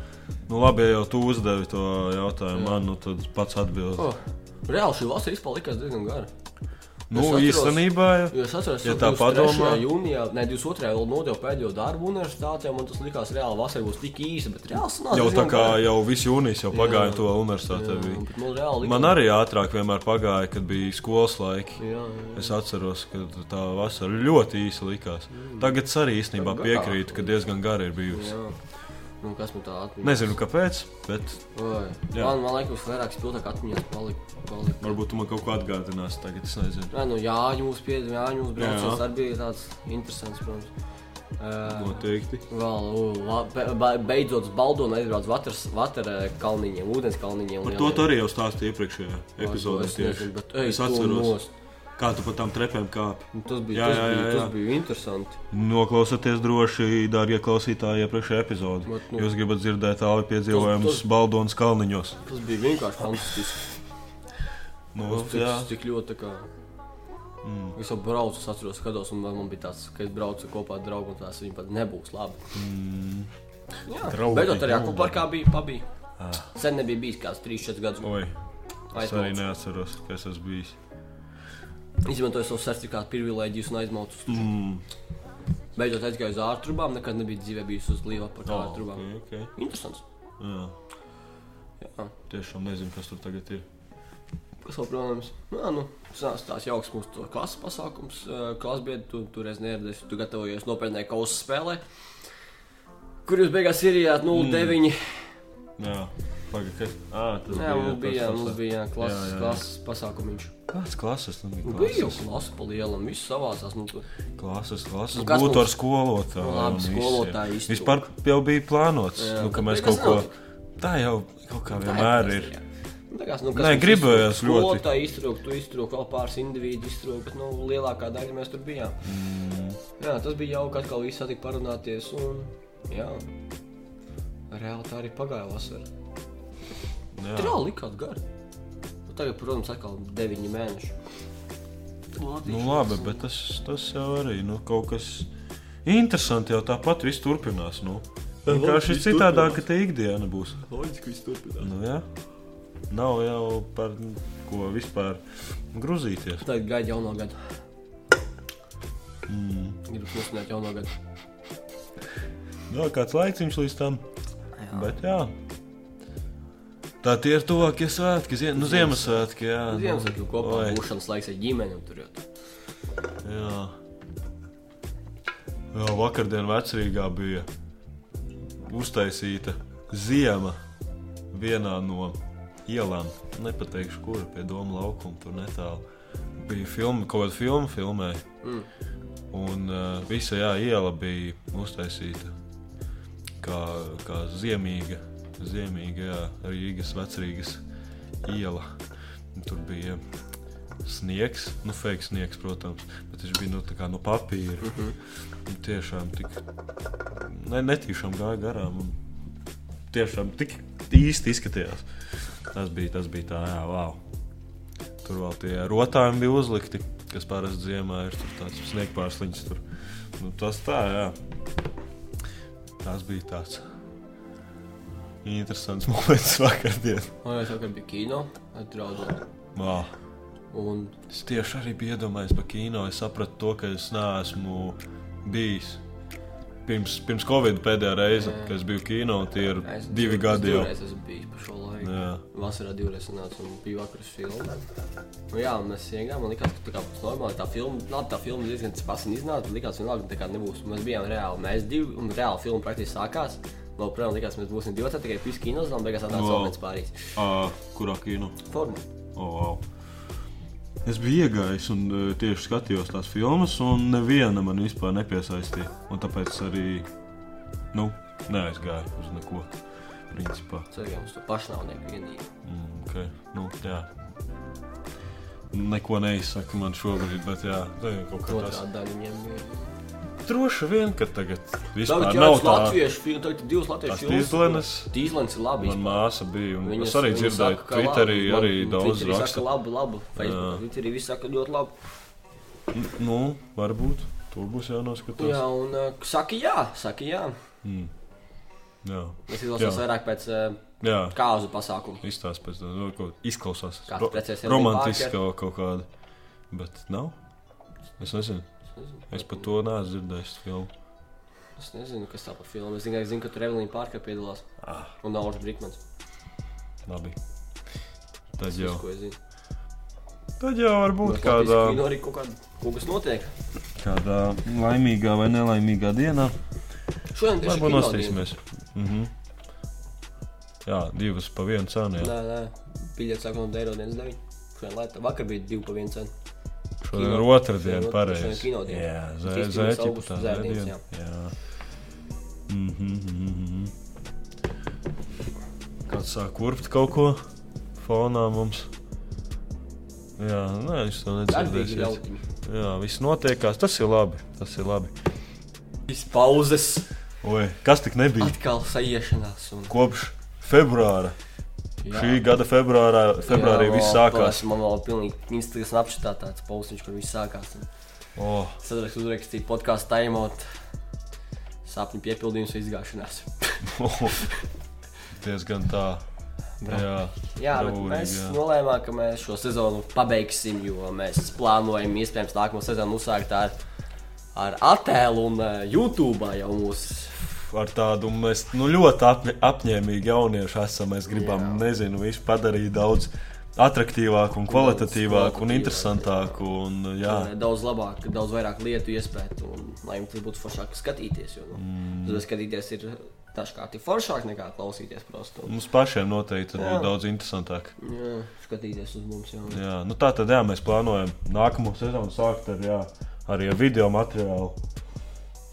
[SPEAKER 1] Nu, labi, ja jau tu uzdevi to jautājumu
[SPEAKER 2] Jā.
[SPEAKER 1] man, nu tad pats atbild.
[SPEAKER 2] Oh. Reāli šī vasara vispār likās diezgan gara.
[SPEAKER 1] nu,
[SPEAKER 2] es atceros-
[SPEAKER 1] īstenībā, ja.
[SPEAKER 2] Jo es atceros,
[SPEAKER 1] Ja
[SPEAKER 2] ka
[SPEAKER 1] tā padomā.
[SPEAKER 2] jūnijā, ne 22. vēl nodevu pēdējo darbu universitātē, un man tas likās reāli vasara būs tik īsa, bet reāli sanāca.
[SPEAKER 1] jau tā
[SPEAKER 2] diezgan
[SPEAKER 1] kā
[SPEAKER 2] gara.
[SPEAKER 1] jau viss jūnijas jau
[SPEAKER 2] Jā.
[SPEAKER 1] pagāja to universitātē.
[SPEAKER 2] Jā,
[SPEAKER 1] bija.
[SPEAKER 2] bet Man, reāli
[SPEAKER 1] Man
[SPEAKER 2] likās-
[SPEAKER 1] arī ātrāk vienmēr pagāja, kad bija skolas laiki.
[SPEAKER 2] Jā, jā.
[SPEAKER 1] Es atceros, ka tā vasara ļoti īsa likās. Tagad es arī īstenībā
[SPEAKER 2] Mm. Tagad garāka.
[SPEAKER 1] piekrītu, ka diezgan gara ir bijusi.
[SPEAKER 2] jā. Nu, kas man tā atmiņā?
[SPEAKER 1] Nezinu kāpēc, bet
[SPEAKER 2] Oi,
[SPEAKER 1] Jā.
[SPEAKER 2] Man, man liekas, vairāk spilgtāk atmiņā palika. palika.
[SPEAKER 1] varbūt tu man kaut ko atgādināsi tagad. Es nezinu,
[SPEAKER 2] Nē, nu, Jāņu mums piedzīvoja, Jāņu mums
[SPEAKER 1] Jā.
[SPEAKER 2] brauciens arī bija tāds interesants, protams. Uh,
[SPEAKER 1] noteikti.
[SPEAKER 2] Vēl, u, la- be- be- beidzot, Baldona aizbrauca vatras, vatara kalniņiem, ūdens kalniņiem.
[SPEAKER 1] Par to tu arī jau stāstīju iepriekšējā epizodē.
[SPEAKER 2] Es,
[SPEAKER 1] tieši.
[SPEAKER 2] nezinu, bet, ej,
[SPEAKER 1] Es
[SPEAKER 2] es
[SPEAKER 1] atceros.
[SPEAKER 2] atceros.
[SPEAKER 1] Kā tu pa tām trepēm kāpi?
[SPEAKER 2] Tas
[SPEAKER 1] Jā,
[SPEAKER 2] bija,
[SPEAKER 1] jā,
[SPEAKER 2] jā, tas, jā, bija,
[SPEAKER 1] jā,
[SPEAKER 2] jā, tas
[SPEAKER 1] jā.
[SPEAKER 2] bija interesanti.
[SPEAKER 1] Noklausieties droši, dārgie klausītāji, iepriekšējā epizodē.
[SPEAKER 2] Vat, nu.
[SPEAKER 1] Jūs gribat dzirdēt tālu
[SPEAKER 2] Tas-
[SPEAKER 1] piedzīvojumus
[SPEAKER 2] tas-
[SPEAKER 1] Baldonas kalniņos.
[SPEAKER 2] Tas bija vienkārši fantastiski.
[SPEAKER 1] Nu,
[SPEAKER 2] Tas
[SPEAKER 1] jā,
[SPEAKER 2] bija tik ļoti. tā Kā... Mm. Es jau braucu, es atceros, skatos, un man bija tāds, ka es braucu kopā ar draugiem, un tās viņa pat nebūs labi. Mm. Jā,
[SPEAKER 1] Draugi,
[SPEAKER 2] Beidzot, arī
[SPEAKER 1] draugi. Ah.
[SPEAKER 2] akvaparkā bija pabija. Sen nebija bijis kāds 3-4 gadus.
[SPEAKER 1] Oi, es arī
[SPEAKER 2] Aizmaucu.
[SPEAKER 1] neatceros, kas tas bija.
[SPEAKER 2] Izmantoju savu certifikātu privilēģijas un aizmaucu. uz-
[SPEAKER 1] Mm.
[SPEAKER 2] Beidzot aizgāju uz ārtrubām, nekad nebija dzīvē bijis uz līva par
[SPEAKER 1] Oh,
[SPEAKER 2] ārtrubām.
[SPEAKER 1] okay, okay.
[SPEAKER 2] Interesants.
[SPEAKER 1] Jā,
[SPEAKER 2] Jā.
[SPEAKER 1] tiešām nezinu, kas tur tagad ir.
[SPEAKER 2] Kas vēl, protams, jā, nu, tas tāds jauks mūsu to klases pasākums. Klasbiedri, tu tur es neieradies, tu gatavojies nopietnai kausa spēlē. Kur jūs beigās ierijāt 0,9? Mm.
[SPEAKER 1] Nu, Jā, pagaidi, kas ah, tas
[SPEAKER 2] Jā, mums bija,
[SPEAKER 1] tas-
[SPEAKER 2] mums bija jā, klases,
[SPEAKER 1] Jā, jā,
[SPEAKER 2] jā,
[SPEAKER 1] jā.
[SPEAKER 2] jā. klases pasākumiņš.
[SPEAKER 1] Kāds klases? Nu, bija
[SPEAKER 2] Nu, bija jau klasa pa lielam, viss savācās. Nu, tur.
[SPEAKER 1] Klases, klases
[SPEAKER 2] Nu, kas
[SPEAKER 1] būtu
[SPEAKER 2] mums-
[SPEAKER 1] ar skolotāju.
[SPEAKER 2] Nu, labi,
[SPEAKER 1] un visiem.
[SPEAKER 2] skolotāji iztrūka.
[SPEAKER 1] Vispār jau bija plānots,
[SPEAKER 2] Jā,
[SPEAKER 1] nu, ka
[SPEAKER 2] bet
[SPEAKER 1] mēs
[SPEAKER 2] nekas
[SPEAKER 1] kaut ko.
[SPEAKER 2] nav.
[SPEAKER 1] Tā jau kaut kā
[SPEAKER 2] Tā
[SPEAKER 1] vienmēr ir.
[SPEAKER 2] klasika, jā. Nu, tā kā, Nu,
[SPEAKER 1] Nē, gribējās ļoti.
[SPEAKER 2] Tā iztrūka, tu iztrūka, vēl pāris individu iztrūka, bet nu, lielākā daļa mēs tur bijām. Mm. Jā, tas bija jauki, atkal viss satika parunāties. Un, jā, reāli tā arī pagāja vasara.
[SPEAKER 1] Jā.
[SPEAKER 2] Tur jau likās gari. Nu, tagad, protams, atkal 9 mēneši.
[SPEAKER 1] Nu, labi, bet tas, tas jau arī nu, kaut kas interesants. Jau tāpat viss turpinās. Nu. Vienkārši
[SPEAKER 2] viss
[SPEAKER 1] citādāk, ka tā ikdiena būs.
[SPEAKER 2] Loģiski viss turpinās.
[SPEAKER 1] Nu, jā. Nav jau par ko vispār grūzīties.
[SPEAKER 2] Tagad gaida jauno gadu. Mm. Gribu nosvinēt jauno gadu.
[SPEAKER 1] Vēl kāds laiks līdz tam. Bet, jā. Tā tie ir tuvākie svētki. Zie... Nu, Ziemassvētki. Jā, nu,
[SPEAKER 2] Ziemassvētku kopā
[SPEAKER 1] oi,
[SPEAKER 2] būšanas laiks ar ģimeni un tur jau.
[SPEAKER 1] Jā, jā vakardienā vecrīgā bija uztaisīta ziema vienā no ielām. Nepateikšu, kura pie Doma laukuma tur netālu. Bija filma, kaut kāda filma filmēja.
[SPEAKER 2] Mm.
[SPEAKER 1] Un uh, visa jā, iela bija uztaisīta kā, kā ziemīga, ziemīga jā, Rīgas vecrīgas iela. Un Tur bija sniegs, nu, fake sniegs, protams, bet viņš bija nu, tā kā no papīra. Mm
[SPEAKER 2] mhm.
[SPEAKER 1] -hmm. Tiešām tik ne, netīšām gāja garām. Un tiešām tik īsti izskatījās. Tas bija, tas bija tā, jā, wow. Tur vēl tie rotājumi bija uzlikti, kas parasti ziemā ir tur tāds sniegpārsliņš. Tur. Nu, tas tā, jā. Tas bija tāds interesants *laughs* moments vakardien.
[SPEAKER 2] Man jau saka, bija kino ar draugiem.
[SPEAKER 1] Wow.
[SPEAKER 2] Un
[SPEAKER 1] Es tieši arī biju iedomājies par kino. Es sapratu to, ka es neesmu bijis. Pirms, pirms Covid pēdējā reize,
[SPEAKER 2] Jā.
[SPEAKER 1] kad es biju kino, tie ir
[SPEAKER 2] es
[SPEAKER 1] divi gadi jau.
[SPEAKER 2] jau. Es esmu bijis pa šo laiku.
[SPEAKER 1] Jā.
[SPEAKER 2] Vasarā divreiz sanāca un bija vakars filma. Nu, jā, un mēs iegājām, man likās, ka tā kā būs normāli. Tā filma, labi, tā filma diezgan spasni iznāca, bet likās, vienalga, ka tā kā nebūs. Mēs bijām reāli, mēs divi, un reāli filma praktiski sākās. Vēl, protams, likās, mēs būsim divi, tikai pīsi kinos, un beigās atnāca
[SPEAKER 1] Wow.
[SPEAKER 2] vēl viens pārējais.
[SPEAKER 1] Ā, Kurā kino?
[SPEAKER 2] Forma.
[SPEAKER 1] Oh, wow. Es biju iegājis un e, tieši skatījos tās filmas, un neviena man vispār nepiesaistīja. Un tāpēc arī nu, neaizgāju uz neko. Principā.
[SPEAKER 2] Cerīgi, mums to paši nav nevienīgi.
[SPEAKER 1] Mm, okay. nu, jā. Neko neizsaka man šobrīd, bet jā, tā ir kaut kas tāds.
[SPEAKER 2] Otrā daļa viņiem bija.
[SPEAKER 1] Droši vien, ka tagad vispār tagad
[SPEAKER 2] Tagad jau
[SPEAKER 1] nav
[SPEAKER 2] ir
[SPEAKER 1] tā.
[SPEAKER 2] latviešu filma, tagad ir divas
[SPEAKER 1] Tās
[SPEAKER 2] latviešu
[SPEAKER 1] tīzlenes,
[SPEAKER 2] Tīzlens ir labi.
[SPEAKER 1] man māsa bija, un
[SPEAKER 2] Viņas-
[SPEAKER 1] es arī
[SPEAKER 2] viņas
[SPEAKER 1] dzirdēju
[SPEAKER 2] saka, ka
[SPEAKER 1] Twitterī
[SPEAKER 2] labi.
[SPEAKER 1] arī
[SPEAKER 2] Man
[SPEAKER 1] daudz
[SPEAKER 2] Twitterī Saka,
[SPEAKER 1] raksta.
[SPEAKER 2] labi, labi. Facebookā Twitterī viss saka ļoti labi.
[SPEAKER 1] Nu, varbūt, tur būs jānoskatās.
[SPEAKER 2] eh, Jā, un uh, saka jā, saka jā.
[SPEAKER 1] Mm. Jā,
[SPEAKER 2] Mēs izlasām
[SPEAKER 1] Jā.
[SPEAKER 2] vairāk pēc uh,
[SPEAKER 1] jā.
[SPEAKER 2] kāzu pasākumu.
[SPEAKER 1] Izstāsta pēc tam, nu, ko izklausās.
[SPEAKER 2] Kāds
[SPEAKER 1] Ro-
[SPEAKER 2] precēs Elviju
[SPEAKER 1] Romantiskā kaut kāda. Bet nav. Es nezinu. Es par to neesmu dzirdējis. Filmu.
[SPEAKER 2] Es nezinu, kas tā par filmu. Es tikai zinu, ka tur Evelīna Parka piedalās.
[SPEAKER 1] Ah.
[SPEAKER 2] Un Nauris Brīkmans.
[SPEAKER 1] Labi. Tad
[SPEAKER 2] Tas
[SPEAKER 1] jau.
[SPEAKER 2] viss, ko es zinu.
[SPEAKER 1] Tad jau var būt
[SPEAKER 2] Bet
[SPEAKER 1] kādā,
[SPEAKER 2] Latvijas kino arī kaut kāda. Kaut kas notiek.
[SPEAKER 1] kādā laimīgā vai nelaimīgā dienā.
[SPEAKER 2] Šodien tieši
[SPEAKER 1] Varbūt
[SPEAKER 2] kino
[SPEAKER 1] nostīsimies. Mhm. Jā, divas pa vienu cenu.
[SPEAKER 2] diena.
[SPEAKER 1] jā.
[SPEAKER 2] Nē, nē. Biļets sākumā no eiro dienas 9. Šodien lētā. Vakar bija 2 pa 1 cenu.
[SPEAKER 1] Šodien
[SPEAKER 2] Kino.
[SPEAKER 1] ir
[SPEAKER 2] Šodien
[SPEAKER 1] otrdiena,
[SPEAKER 2] ot- šodien
[SPEAKER 1] pareizi.
[SPEAKER 2] kino diena.
[SPEAKER 1] Jā,
[SPEAKER 2] Trīs pirms
[SPEAKER 1] zēķi pat
[SPEAKER 2] augusta
[SPEAKER 1] tā
[SPEAKER 2] zēdiens,
[SPEAKER 1] zēdiena. Jā. Mhm, mhm, mhm. Kāds sāk kurpt kaut ko fonā mums. Jā, nē, viņš to
[SPEAKER 2] Darbīgi
[SPEAKER 1] nedzirdēs.
[SPEAKER 2] ļautiņi.
[SPEAKER 1] Jā, viss notiekās. Tas ir labi. Tas ir labi.
[SPEAKER 2] Viss pauzes.
[SPEAKER 1] Oi, kas tik nebija?
[SPEAKER 2] Atkal sajiešanās. Un...
[SPEAKER 1] Kopš februāra. Jā. Šī gada februārā, februārī
[SPEAKER 2] Jā,
[SPEAKER 1] viss
[SPEAKER 2] vēl
[SPEAKER 1] sākās.
[SPEAKER 2] pavasarī Man vēl pilnīgi instīvs apšatā tāds pausiņš, kur viss sākās. Un
[SPEAKER 1] Oh,
[SPEAKER 2] Sadarbojas uzrakstīja podkāstu taimot sapņu piepildījums un izgāšanās.
[SPEAKER 1] oh. Diezgan tā.
[SPEAKER 2] Bra.
[SPEAKER 1] Jā,
[SPEAKER 2] Jā, bet
[SPEAKER 1] Daurīgi,
[SPEAKER 2] mēs
[SPEAKER 1] jā.
[SPEAKER 2] nolēmām, ka mēs šo sezonu pabeigsim, jo mēs plānojam iespējams nākamo sezonu uzsākt ar, ar attēlu un eh, YouTube jau mūsu.
[SPEAKER 1] ar tādu mēs nu, ļoti apņ apņēmīgi jaunieši esam. Mēs gribam,
[SPEAKER 2] Jā.
[SPEAKER 1] jā. nezinu, visu padarīt daudz attraktīvāku, un kvalitatīvāku un
[SPEAKER 2] kvalitatīvāk,
[SPEAKER 1] interesantāku. Un, jā,
[SPEAKER 2] eh, Daudz labāk, daudz vairāk lietu iespēju, un lai jums tas būtu foršāk skatīties. Jo, nu, mm. Skatīties ir dažkārt ir foršāk nekā klausīties prosto.
[SPEAKER 1] mums pašiem noteikti tad
[SPEAKER 2] Jā.
[SPEAKER 1] būtu daudz interesantāk.
[SPEAKER 2] Jā, skatīties uz mums jau.
[SPEAKER 1] Jā, nu tā tad jā, mēs plānojam nākamo sezonu sākt ar, jā, arī ar video materiālu.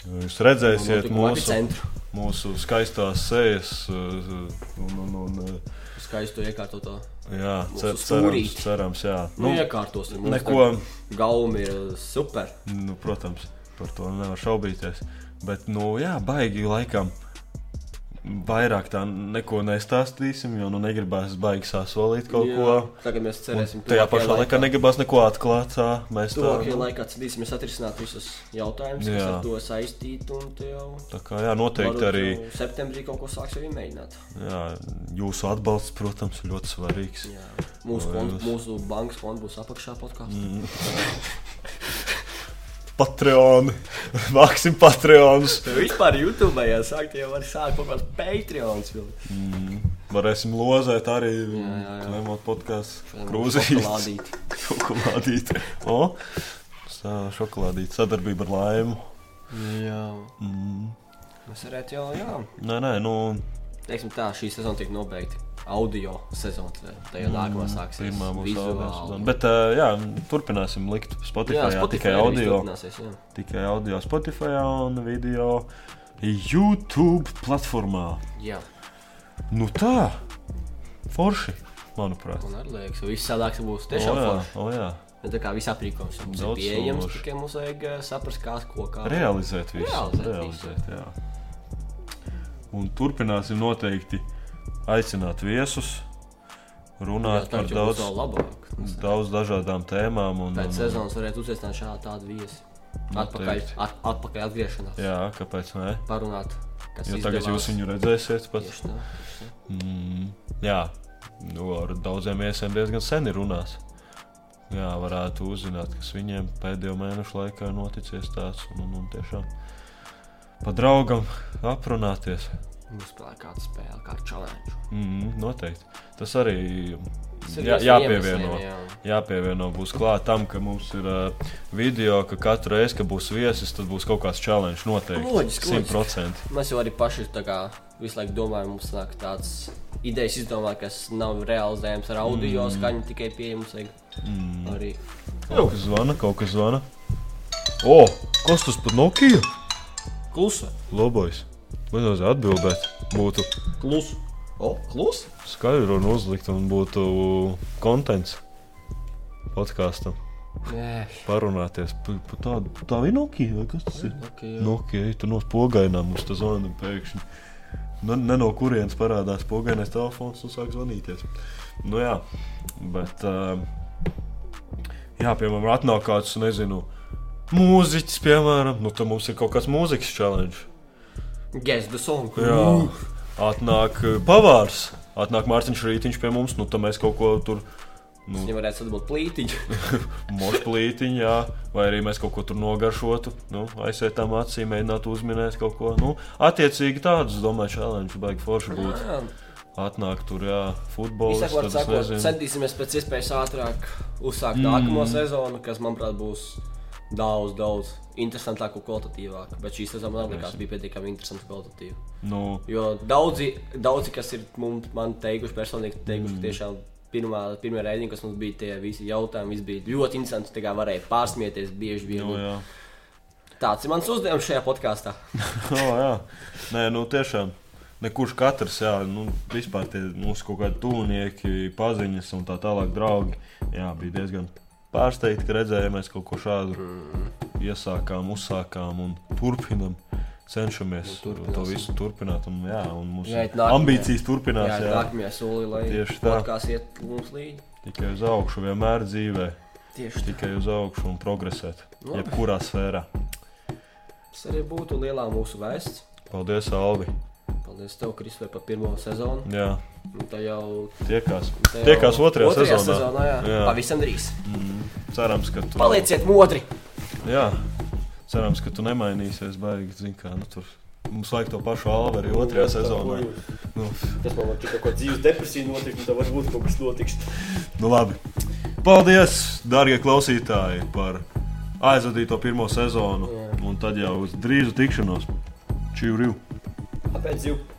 [SPEAKER 1] Jūs redzēsiet mūsu,
[SPEAKER 2] centru.
[SPEAKER 1] mūsu skaistās sejas, uh, un, un, un uh,
[SPEAKER 2] Skaisto iekārtoto.
[SPEAKER 1] jā, cer,
[SPEAKER 2] Mūsu
[SPEAKER 1] cerams,
[SPEAKER 2] stūrīti.
[SPEAKER 1] cerams, jā.
[SPEAKER 2] Nu, iekārtosim. Mums
[SPEAKER 1] neko,
[SPEAKER 2] tā Gaumi ir super.
[SPEAKER 1] nu, protams, par to nevar šaubīties. Bet, nu, jā, baigi laikam. Vairāk tā neko nestāstīsim, jo nu negribēs baigi sasolīt kaut
[SPEAKER 2] Jā,
[SPEAKER 1] jā. ko.
[SPEAKER 2] Tagad mēs cerēsim.
[SPEAKER 1] Tajā
[SPEAKER 2] tuvākajā
[SPEAKER 1] pašā laikā negribēs neko atklāt. Tā, mēs tā,
[SPEAKER 2] Tuvākajā laikā centīsimies atrisināt visus jautājumus, kas
[SPEAKER 1] Jā.
[SPEAKER 2] ar to saistīti. Un te jau
[SPEAKER 1] tā kā, jā, noteikti
[SPEAKER 2] varbūt
[SPEAKER 1] arī
[SPEAKER 2] jau septembrī kaut ko sāksim arī mēģināt.
[SPEAKER 1] jā, jūsu atbalsts, protams, ir ļoti svarīgs.
[SPEAKER 2] Jā. Mūsu,
[SPEAKER 1] Vai
[SPEAKER 2] fond,
[SPEAKER 1] jūs-
[SPEAKER 2] mūsu bankas fonds būs apakšā podkāstā. Mm.
[SPEAKER 1] *laughs* Patreoni! Vāksim patreonus!
[SPEAKER 2] Vispār YouTube jau sākt, jau var sākt kaut kāds Patreons. vēl.
[SPEAKER 1] Mm, Varēsim lozēt arī
[SPEAKER 2] Jā, jā, jā.
[SPEAKER 1] klimot podkāstu
[SPEAKER 2] Šodien mums
[SPEAKER 1] krūzīs. *laughs*
[SPEAKER 2] šokolādīti.
[SPEAKER 1] Šokolādīte. O, Sā- šokolādīte sadarbība ar laimu.
[SPEAKER 2] Jā.
[SPEAKER 1] Mm.
[SPEAKER 2] Mēs varētu jau, jā.
[SPEAKER 1] Nē, nē, nu,
[SPEAKER 2] Teiksim tā, šī sezona tiek nobeigta. Audio sezona tajā mm, nākamā sāksies.
[SPEAKER 1] pirmā būs audio sezona.
[SPEAKER 2] vizuāli.
[SPEAKER 1] Bet, ā, jā, turpināsim likt Spotify,
[SPEAKER 2] Jā,
[SPEAKER 1] jā,
[SPEAKER 2] Spotify
[SPEAKER 1] tikai
[SPEAKER 2] arī
[SPEAKER 1] audio.
[SPEAKER 2] turpināsies, jā.
[SPEAKER 1] Tikai audio Spotify un video YouTube platformā.
[SPEAKER 2] Jā,
[SPEAKER 1] Nu tā, forši, manuprāt.
[SPEAKER 2] man arī liekas, ka viss sādāks būs
[SPEAKER 1] O,
[SPEAKER 2] tiešām
[SPEAKER 1] jā,
[SPEAKER 2] forši.
[SPEAKER 1] o, jā.
[SPEAKER 2] Bet Tā kā viss aprīkojums mums ir
[SPEAKER 1] Daudz
[SPEAKER 2] pieejams,
[SPEAKER 1] sološi.
[SPEAKER 2] tikai mums vajag eh, saprast, kā ko kā.
[SPEAKER 1] Realizēt visu.
[SPEAKER 2] Realizēt
[SPEAKER 1] Realizēt, jā. Un turpināsim noteikti aicināt viesus, runāt par
[SPEAKER 2] jau būs
[SPEAKER 1] daudz,
[SPEAKER 2] vēl labāk.
[SPEAKER 1] daudz dažādām tēmām. Un,
[SPEAKER 2] Pēc
[SPEAKER 1] un,
[SPEAKER 2] sezonas varētu uzaicināt šādu tādu viesi. Atpakaļ,
[SPEAKER 1] Noteikti.
[SPEAKER 2] at, atpakaļ atgriešanās.
[SPEAKER 1] jā, kāpēc ne?
[SPEAKER 2] Parunāt, kas
[SPEAKER 1] Jo tagad jūs viņu redzēsiet pats.
[SPEAKER 2] Tieši tā.
[SPEAKER 1] Mm, jā, nu, ar daudziem viesiem diezgan seni runās. Jā, varētu uzzināt, kas viņiem pēdējo mēnešu laikā ir noticis tāds. Un, un, un tiešām pa draugam aprunāties.
[SPEAKER 2] Mums spēlē kāda spēle, kā challenge.
[SPEAKER 1] Mm, noteikti. Tas arī
[SPEAKER 2] Tas ir
[SPEAKER 1] jā,
[SPEAKER 2] viens no
[SPEAKER 1] jāpievieno.
[SPEAKER 2] iemesliem, jā.
[SPEAKER 1] Jāpievieno būs klāt tam, ka mums ir uh, video, ka katru reizi, kad būs viesis, tad būs kaut kāds challenge noteikti.
[SPEAKER 2] Loģiski, loģiski.
[SPEAKER 1] 100%.
[SPEAKER 2] Mēs jau arī paši tā kā, visu laiku domājam, mums nāk tādas idejas, izdomā, kas nav realizējams ar audio mm. skaņu, tikai pieejams. Mm. Arī
[SPEAKER 1] Kaut kas zvana, kaut kas zvana. O, kas tas par Nokiju?
[SPEAKER 2] klusa.
[SPEAKER 1] Lobojs. Man vajadzēja atbildēt, būtu
[SPEAKER 2] Klusa. O, klusa.
[SPEAKER 1] skaļi runa uzlikt un būtu kontents podkāstam.
[SPEAKER 2] Nē,
[SPEAKER 1] Parunāties par pa tādu. Tā ir Nokija, vai kas tas ir?
[SPEAKER 2] okay, nu.
[SPEAKER 1] Nokija, ej, tu no spogainām mums tas zvana pēkšņi. Nu, Ne no kurienes parādās pogainais telefons un sāk zvanīties. Nu jā, bet. ā, Jā, piemēram, atnāk kāds, nezinu, mūziķis, piemēram, nu tad mums ir kaut kāds mūzikas challenge.
[SPEAKER 2] Guess the song.
[SPEAKER 1] Jā, Atnāk eh, pavārs, atnāk Mārtiņš Rītiņš pie mums, nu tad mēs kaut ko tur. Nu,
[SPEAKER 2] Viņam varētu būt plītiņa.
[SPEAKER 1] Mošplītiņa, jā, vai arī mēs kaut ko tur nogaršotu, nu, aizsētām acīm, mēģinātu uzminēt kaut ko. Nu, attiecīgi tādus, domāju, challenge, baigi forši būtu. Atnāk tur, jā, futbols.
[SPEAKER 2] Vispār sakot, centīsimies pēc iespējas ātrāk uzsākt mm. nākamo sezonu, kas, manuprāt, būs daudz, daudz interesantāka un kvalitatīvāka. Bet šī sezona man liekas, bija pietiekami interesanta un kvalitatīva.
[SPEAKER 1] Nu,
[SPEAKER 2] Jo daudzi, daudzi kas ir mums, man teikuši personīgi, teikuši,
[SPEAKER 1] Mm.
[SPEAKER 2] ka tiešām pirmā, pirmie rēģini, kas mums bija, tie visi jautājumi, viss bija ļoti interesanti. Tā kā varēja pārsmieties bieži vien.
[SPEAKER 1] nu, jā.
[SPEAKER 2] Tāds ir mans uzdevums šajā podkāstā.
[SPEAKER 1] *laughs* O, jā, nē, nu tiešām. Nekurš katrs, jā, nu, vispār tie mūsu kaut kādi tuvinieki, paziņas un tā tālāk, draugi. Jā, bija diezgan pārsteigti, ka redzējām, mēs kaut ko šādu
[SPEAKER 2] Mhm.
[SPEAKER 1] iesākām, uzsākām un turpinām. Cenšamies
[SPEAKER 2] Nu, turpināsim.
[SPEAKER 1] to visu turpināt, un, jā, un mūsu jā,
[SPEAKER 2] Jā, it nākamajā.
[SPEAKER 1] ambīcijas turpinās.
[SPEAKER 2] Jā,
[SPEAKER 1] Jā, jā.
[SPEAKER 2] nākamajā solī, lai
[SPEAKER 1] Tieši tā.
[SPEAKER 2] podkāsts iet mums līdzi.
[SPEAKER 1] Tikai uz augšu, vienmēr dzīvē,
[SPEAKER 2] Tieši tā.
[SPEAKER 1] tikai uz augšu un progresēt.
[SPEAKER 2] Labi.
[SPEAKER 1] Jebkurā sfērā.
[SPEAKER 2] Tas arī būtu lielā mūsu vēsts.
[SPEAKER 1] Paldies, Alvi!
[SPEAKER 2] Paldies, tev, Kristofē, par pirmo sezonu.
[SPEAKER 1] Jā,
[SPEAKER 2] Un Tā jau
[SPEAKER 1] tiekās,
[SPEAKER 2] tā jau-
[SPEAKER 1] tiekās otrajā,
[SPEAKER 2] otrajā
[SPEAKER 1] sezonā.
[SPEAKER 2] sezonā jā.
[SPEAKER 1] Jā.
[SPEAKER 2] Jā. Pavisam drīz.
[SPEAKER 1] Cerams, ka tu.
[SPEAKER 2] Palieciet modri!
[SPEAKER 1] Jā, cerams, ka tu nemainīsies. Baigi, zin, kā, nu, tur. Mums vajag to pašu alvu arī otrajā sezonā. Nu,
[SPEAKER 3] Tas man liekas, ka dzīves depresija notiek, un tā varbūt kaut kas notiks.
[SPEAKER 1] nu, labi. Paldies, darbie klausītāji, par aizvadīto pirmo sezonu.
[SPEAKER 2] Jā.
[SPEAKER 1] Un tad jau uz drīzu tikšanos. Čau!
[SPEAKER 3] Kāpēc dzīve?